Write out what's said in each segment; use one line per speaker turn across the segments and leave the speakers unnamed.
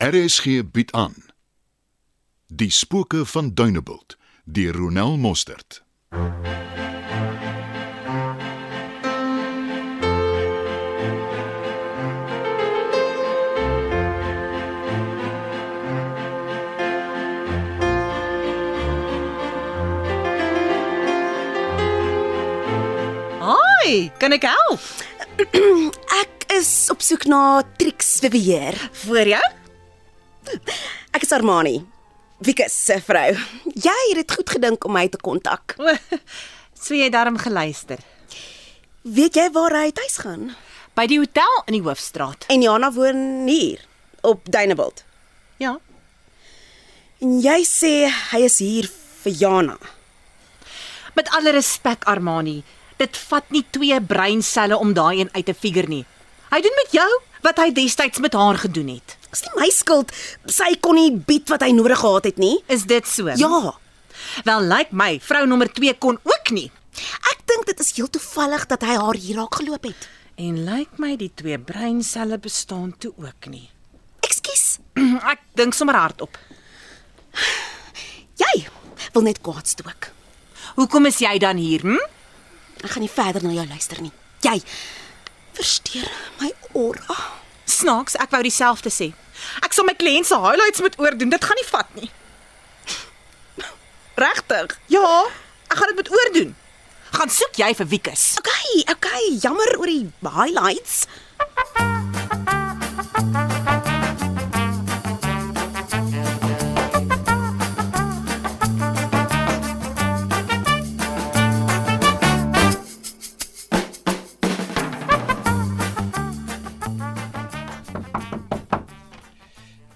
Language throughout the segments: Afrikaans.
RSG bied aan Die spooke van Dunebuld deur Ronel Mostert.
Hi, kan ek help?
Ek is op soek na Trix Vivier.
Vir jou?
Ek is Armani. Wikus se vrou. Jy het dit goed gedink om my te kontak.
Sou jy daarom geluister?
Weet jy waar hy uit huis gaan?
By die hotel in die hoofstraat.
En Jana woon hier op Dunebuld.
Ja.
En jy sê hy is hier vir Jana.
Met alle respek Armani, dit vat nie twee breinselle om daai een uit te figure nie. Hy doen met jou wat hy destyds met haar gedoen het.
Dis nie my skuld. Sy kon nie bied wat hy nodig gehad het nie.
Is dit so?
Ja.
Wel lyk like my vrou nommer 2 kon ook nie.
Ek dink dit is heel toevallig dat hy haar hier raak geloop het.
En lyk like my die twee breinselle bestaan toe ook nie.
Ekskuus.
Ek dink sommer hardop.
Jy wil net kwaad stook.
Hoekom is jy dan hier? Hm?
Ek gaan nie verder na jou luister nie. Jy versteur my aura.
Snaaks, ek wou dieselfde sê. Ek sal my kliënt se highlights moet oordoen. Dit gaan nie vat nie.
Regtig?
Ja, ek gaan dit moet oordoen. Gaan soek jy vir Wiekus.
Okay, okay, jammer oor die highlights.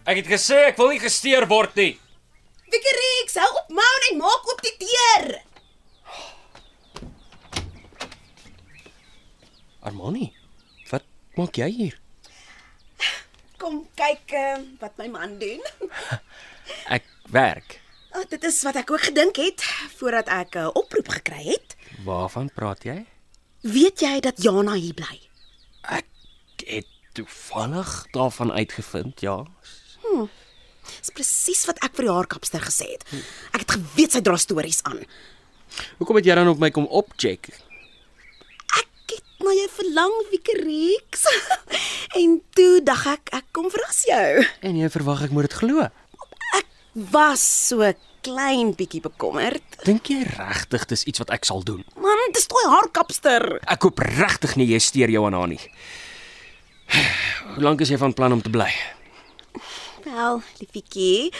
Ek het gesê ek wil nie gesteer word nie.
Wikkerix, hou op moun en maak oop die deur.
Armani, wat maak jy hier?
Kom kyk eh, wat my man doen.
Ek werk.
Oh, dit is wat ek ook gedink het voordat ek 'n oproep gekry het.
Waarvan praat jy?
Weet jy dat Jana hier bly?
Ek het toevallig daarvan uitgevind, ja.
Dis presies wat ek vir die haarkapster gesê het. Ek het geweet sy dra stories aan.
Hoekom het jy dan op my kom opcheck?
Ek het na jou verlang, Wikkerix. en toe dag ek ek kom verras jou.
En jy verwag ek moet dit glo.
Was so klein bietjie bekommerd.
Dink jy regtig dis iets wat ek sal doen?
Man, dis toe haar kapster.
Ek hoop regtig nie jy steur jou aan haar nie. Hoe lank is jy van plan om te bly?
Wel, liefietjie,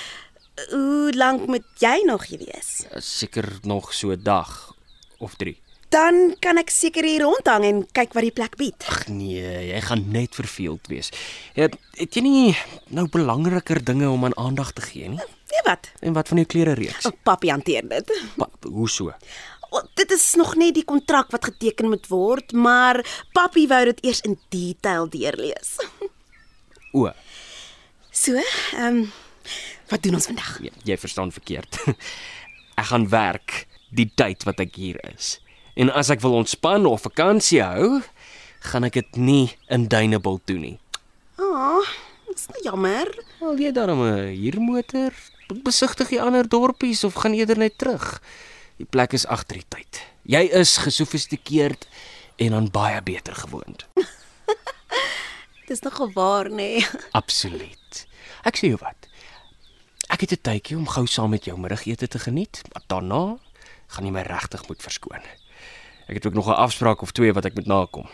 hoe lank moet jy nog hier wees?
Seker nog so 'n dag of 3.
Dan kan ek seker hier rondhang en kyk wat die plek bied.
Ag nee, jy gaan net verveeld wees. Het, het jy nie nou belangriker dinge om aan aandag te gee nie?
Nee wat?
En wat van jou klere reeks?
Oh, Papi hanteer dit.
Pa, hoe so?
Oh, dit is nog net die kontrak wat geteken moet word, maar Papi wou dit eers in detail deurlees.
O,
So, ehm um, wat doen ons vandag?
jy, jy verstaan verkeerd. ek gaan werk die tyd wat ek hier is. En as ek wil ontspan of vakansie hou, gaan ek dit nie in Dunebuld doen nie.
Ah, oh, dis nou jammer.
Al jy nee, daarom 'n huurmotor, besigtig die ander dorpies of gaan eerder net terug. Die plek is agter die tyd. Jy is gesofistikeerd en aan baie beter gewoond.
Dis nogal waar, nê? Nee.
Absoluut. Ek sê jou wat. Ek het 'n tydjie om gou saam met jou middagete te geniet, maar daarna gaan jy my regtig moet verskoon. Ek het ook nog 'n afspraak of twee wat ek moet nakom.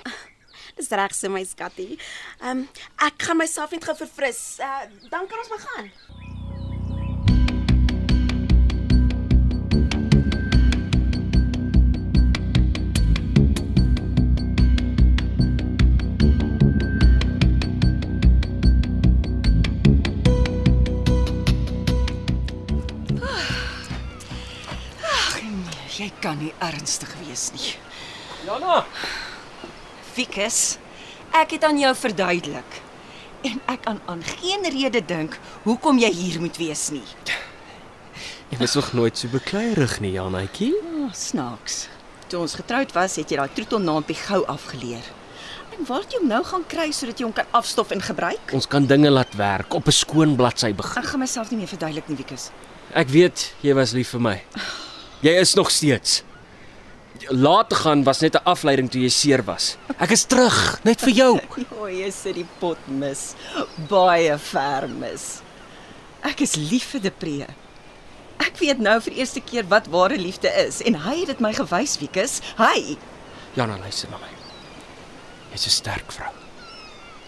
Dis reg so my skattie. Ehm um, ek gaan myself net gou verfris. Uh, dan kan ons maar gaan.
Jy kan nie ernstig wees nie.
Jana,
Wikus, ek het aan jou verduidelik en ek kan aan geen rede dink hoekom jy hier moet wees nie.
jy was nog nooit so bekleierig nie, Janetjie.
Oh, snaaks. Toe ons getroud was, het jy daai troetelnaampie gou afgeleer. En En waar het jy hom nou gaan kry sodat jy hom kan afstof en gebruik?
Ons kan dinge laat werk op 'n skoon bladsy begin.
Ek gaan myself nie meer verduidelik nie, Wikus.
Ek weet jy was lief vir my. Jy is nog steeds. Laat te gaan was net 'n afleiding toe jy seer was. Ek is terug, net vir jou.
O, jy sit die pot mis. Baie ver mis. Ek is lief vir Depree. Ek weet nou vir die eerste keer wat ware liefde is en hy het dit my gewys, Wikus. Hy.
Jana, luister na my. Jy's 'n sterk vrou.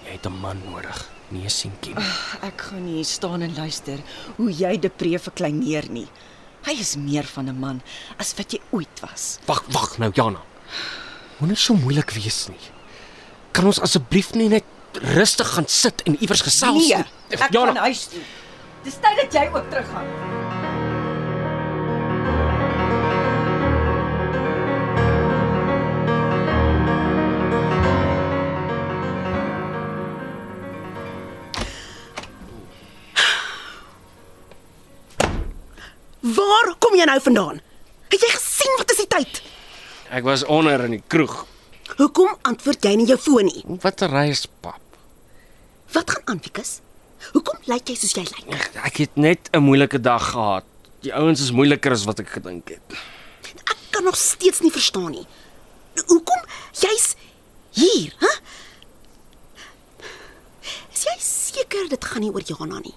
Jy het 'n man nodig, nie 'n seentjie nie.
Ek gaan nie hier staan en luister hoe jy Depree verkleineer nie. Hy is meer van 'n man as wat jy ooit was.
Wag, wag nou, Jana. Moenie so moeilik wees nie. Kan ons asseblief nie net rustig gaan sit en iewers gesels
Nee,
nie?
ek gaan huis toe. Dis tyd dat jy ook teruggaan.
Waar kom jy nou vandaan? Het jy gesien wat is die tyd?
ek was onder in die kroeg.
Hoekom antwoord jy nie jou foon nie?
Wat 'n reis pap.
Wat gaan aan, Wikus? Hoekom lyk jy soos jy lyk?
Ek, ek het net 'n moeilike dag gehad. Die ouens is moeiliker as wat ek gedink het.
Ek kan nog steeds nie verstaan nie. Hoekom jy's hier, hè? Is jy seker dit gaan nie oor Jana nie?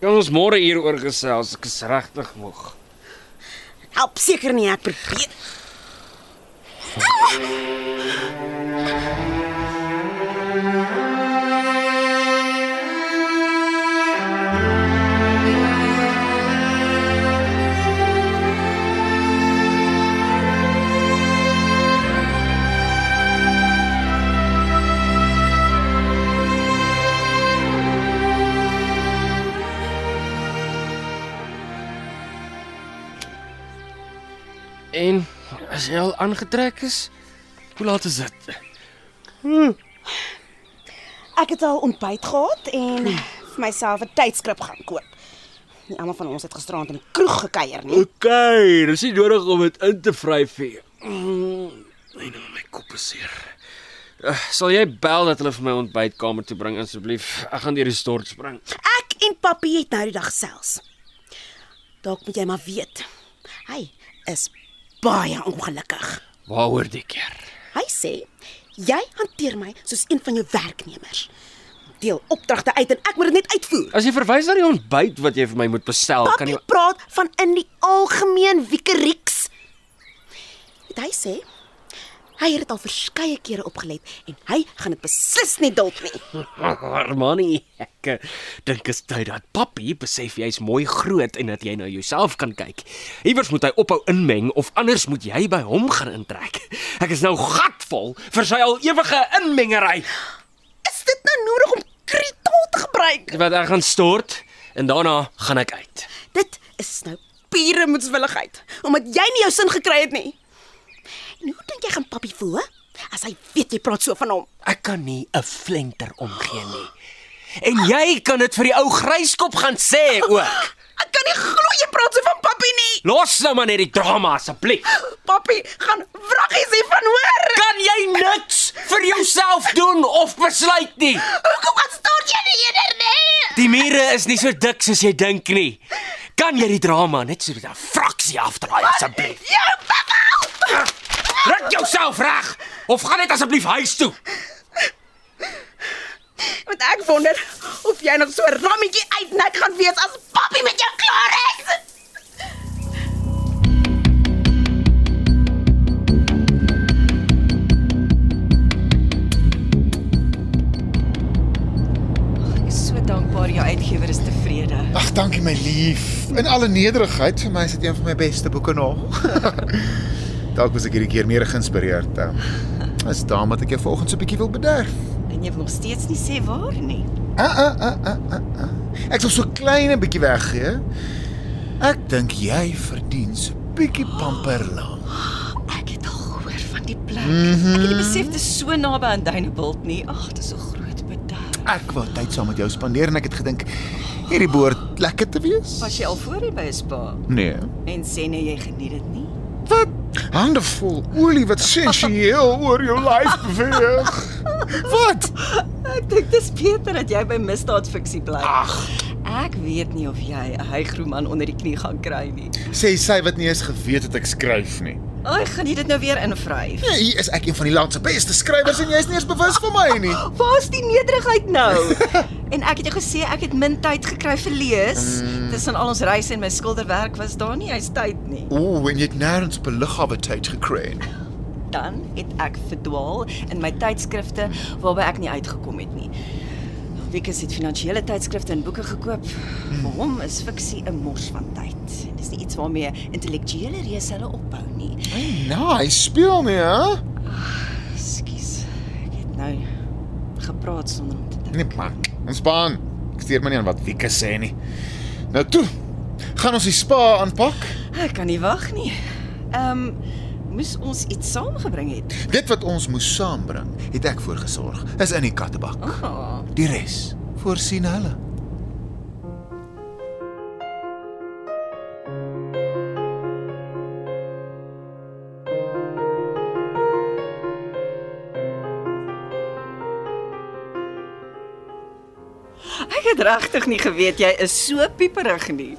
Kan ons môre hieroor gesels? Ek is regtig moeg.
Help seker nie, ek probeer.
En as jy al aangetrek is, hoe laat is dit?
Ek het al ontbyt gehad en vir myself 'n tydskrif gaan koop. Nie almal van ons het gisteraand in die kroeg gekuier nie.
Okay, dis nie nodig om dit in te vryf nie. Nee, nou my kop is seer. Uh, sal jy bel dat hulle vir my ontbytkamer toe bring asseblief? Ek gaan deur die stort spring.
Ek en papi het nou die dag selfs. Dalk moet jy maar weet. Hy is baie ongelukkig.
Waaroor die keer?
Hy sê jy hanteer my soos een van jou werknemers. Deel opdragte uit en ek moet dit net uitvoer.
As jy verwys na die ontbyt wat jy vir my moet bestel, kan
Papi
jy
praat van in die algemeen wiekerieks. Wat hy sê, hy het dit al verskeie kere opgelet en hy gaan dit beslis nie dalk nie.
Armani, ek eh, dink is tyd dat papi besef jy's mooi groot en dat jy na jouself kan kyk. Iewers moet hy ophou inmeng of anders moet jy by hom gaan intrek. Ek is nou gatvol vir sy al ewige inmengery.
Is dit nou nodig om kritaal te gebruik?
Wat ek gaan stort en daarna gaan ek uit.
Dit is nou pure moedswilligheid omdat jy nie jou sin gekry het nie. En hoe dink jy gaan papi voel hè, as hy weet jy praat so van hom?
Ek kan nie 'n flenter omgee nie. En jy kan dit vir die ou gryskop gaan sê ook.
Ek kan nie glo jy praat so van papi nie.
Los nou maar net die drama asseblief.
Papi gaan wraggies hiervan hoor.
Kan jy niks vir jouself doen of besluit nie?
Hoekom gaan staar jy nie eerder nie?
Die mure is nie so dik soos jy dink nie. Kan jy die drama net so 'n fraksie afdraai asseblief?
Jou pappa!
Ruk jouself reg of gaan net asseblief huis toe.
Want ek wonder of jy nog so 'n rammetjie uitnek gaan wees as papi met jou klaar is.
Ek is so dankbaar jou uitgewer is tevrede.
Ag, dankie my lief. In alle nederigheid, vir my is dit een van my beste boeke nog. Dalk was ek hierdie keer meer geïnspireerd. eh. Is daarom dat ek jou vanoggend so 'n bietjie wil bederf.
En jy wil nog steeds nie sê waar nie.
Ah ah ah ah ah. ah. Ek sal so klein 'n bietjie weggee. Ek dink jy verdien so 'n bietjie pamperlang.
Ek het al gehoor van die plek. Mm -hmm. Ek het nie besef dit is so naby aan Duinebult nie. Ag, dis 'n groot bederf.
Ek wou tyd saam met jou spandeer en ek het gedink hierdie behoort lekker te wees.
Was jy al voorheen by 'n spa
Nee.
en sê nee jy geniet dit nie?
Wat? Hande vol olie wat sensueel oor jou lyf beweeg. Wat?
Ek dink dis beter dat jy by misdaadfiksie bly.
Ag,
Ek weet nie of jy 'n hygroeman onder die knie gaan kry nie.
sê sy wat nie eens geweet het ek skryf nie.
Ai, gaan jy dit nou weer invryf?
Nee, hier is ek een van die land se beste skrywers en jy's nie eens bewus van my nie.
Waar's die nederigheid nou? en ek het jou gesê ek het min tyd gekry vir lees. Tussen al ons reise en my skilderwerk was daar nie eens tyd nie.
Ooh, en jy het nêrens beluggawe tyd gekry nie.
Dan het ek verdwaal in my tydskrifte waarby ek nie uitgekom het nie. Wikus het finansiële tydskrifte en boeke gekoop. Vir hom is fiksie 'n mors van tyd. En dis nie iets waarmee intellektuele reus hulle opbou nie.
Nou, hy speel nie, hè?
Ekskuus. Ek het nou gepraat sonder om te dink.
Nee man, ontspan. Ek steur my nie aan wat Wieke sê nie. Nou toe. Gaan ons die spa aanpak?
Ek kan nie wag nie. Ehm um, moes ons iets saamgebring het.
Dit wat ons moes saambring, het ek voorgesorg. Is in die kattebak.
Oh.
Die res voorsien hulle.
Ek het regtig nie geweet jy is so pieperig nie.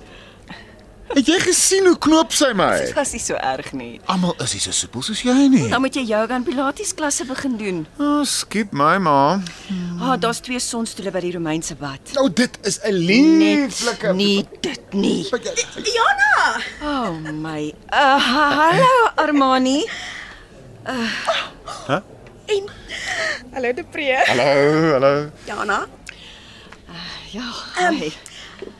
Het jy gesien hoe knoop sy my?
Dit was nie so erg nie.
Almal is nie so soepel soos jy nie.
Dan moet jy yoga en pilates klasse begin doen.
Oh, skiep my ma.
Ah, oh, daar's twee sonstoele by die Romeinse bad.
Nou dit is 'n lieflike
nie dit nie.
Wat jy-
Jana,
O oh, my. Uh, ha- hallo Armani.
hallo Depree.
Hallo, hallo.
Jana, Ah, Ehm,
Ja. Hey.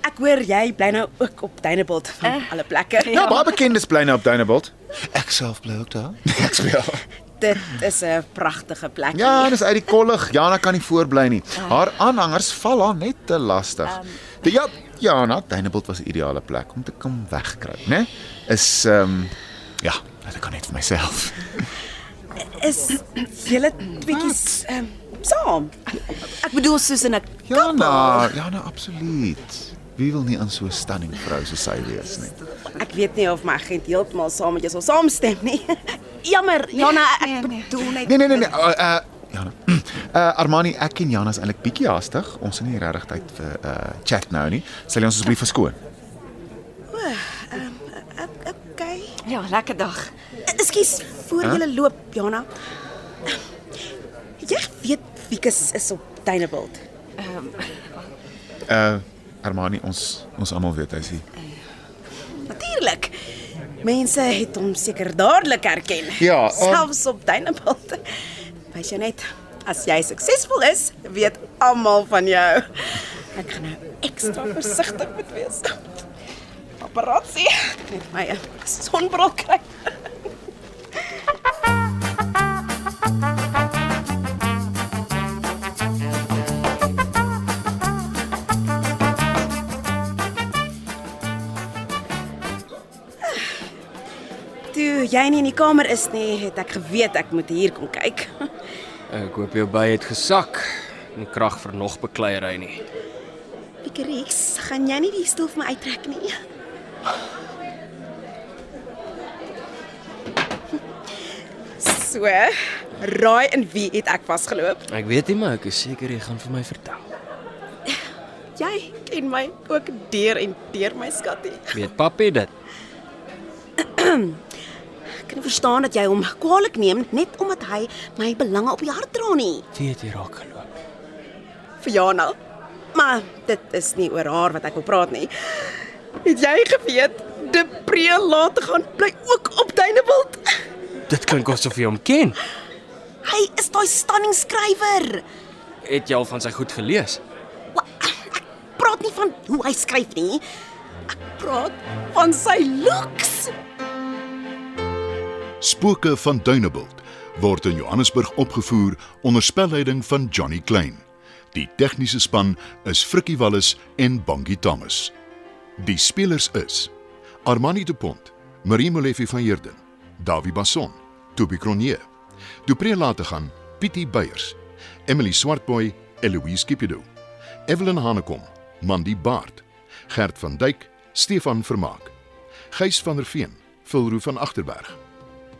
ek hoor jy bly nou ook op Dunebuld van alle plekke.
Ja, baie bekendes bly nou op Dunebuld. Ek self bly ook daar. Ek speel.
Dit is 'n pragtige plek.
Ja, dis uit die kollig. Jana kan nie voorbly nie. Haar aanhangers val haar net te lastig. Die, ja, Jana, Dunebuld was 'n ideale plek om te kom wegkruip, né? Is ehm um, ja, dit kan net vir myself.
Is julle tweeetjies ehm saam? Ek bedoel soos in 'n
Jana, Jana absoluut. Wie wil nie aan so 'n stunning vrou soos sy wees nie?
Ek weet nie of my agent heeltemal saam met jou sal saamstem nie. Jammer, Jana, ek nee, nee. bedoel net
Nee nee nee nee. Uh, uh, Jana. Uh, Armani, ek en Jana is eintlik bietjie haastig. Ons het nie regtig tyd vir uh chat nou nie. Sal jy ons asseblief verskoon?
Okay.
Ja, lekker dag.
Ekskuus voor huh? jy loop, Jana. Jy weet Wikus is op Dunebuld.
Uh Armani, ons ons almal weet hy's hier.
Natuurlik. Mense het hom seker dadelik herken.
Ja, om-
selfs op Dunebuld. Wys jy net as jy suksesvol is, weet almal van jou. Ek gaan nou ekstra versigtig moet wees. Paparazzi, net my eh, sonbril kry. Toe jy nie in die kamer is nie, het ek geweet ek moet hier kom kyk.
Ek hoop jou by het gesak en krag vir nog bekleierery nie.
Piekrix, gaan jy nie die stoel vir my uittrek nie? So, raai in wie het ek vasgeloop?
Ek weet nie maar ek is seker jy gaan vir my vertel.
Jy ken my ook deur en deur my skattie.
Weet papie dit?
Ek kan nie verstaan dat jy hom kwaadlik neem net omdat hy my belange op die hart dra nie.
Wie het jy raak geloop?
Vir Jana. Maar dit is nie oor haar wat ek wil praat nie. Het jy geweet Depree laat gaan bly ook op Dunebuld?
Dit klink asof jy hom ken.
Hy is daai stunning skrywer.
Het jy al van sy goed gelees?
Wa- Ek praat nie van hoe hy skryf nie. Ek praat van sy looks.
Spooke van Duneveld word in Johannesburg opgevoer onder spelleiding van Johnny Klein. Die tegniese span is Frikkie Wallis en Bongie Thomas. Die spelers is Armani de Pont, Marie Molefe van Heerden, Dawie Bason, Toby Cronje, Dupré Lategan, Pietie Beyers, Emily Swartboy, Eloise Kipido, Evelyn Hanekom, Mandy Baard, Gert van Duyk, Stefan Vermaak, Gys van der Veen, Vilroe van Agterberg.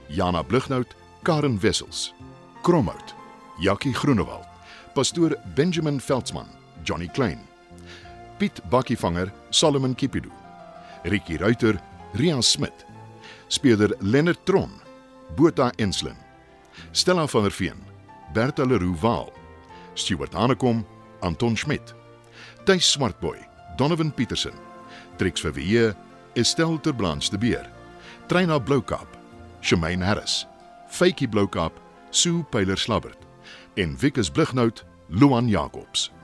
Jana Blugnout, Karen Wessels, Kromhout, Jackie Groenewald, pastoor Benjamin Veldsmann, Johnny Klein, Piet Bakkievanger, Solomon Kipidu, Ricky Ruiter, Rian Smit, speurder Lennert Tron, Botha Enslin, Stella van der Veen, Bertha Leroux Waal, Stuart Hanekom, Anton Schmidt, Tuis Swartboy, Donovan Petersen, Trix Verwee, Estelle Terblans de Beer, Treina Bloukap, Shamaine Harris, Faitjie Bloukap, Sue Pyler Slabbert en Wikus Blugnout, Luan Jacobs.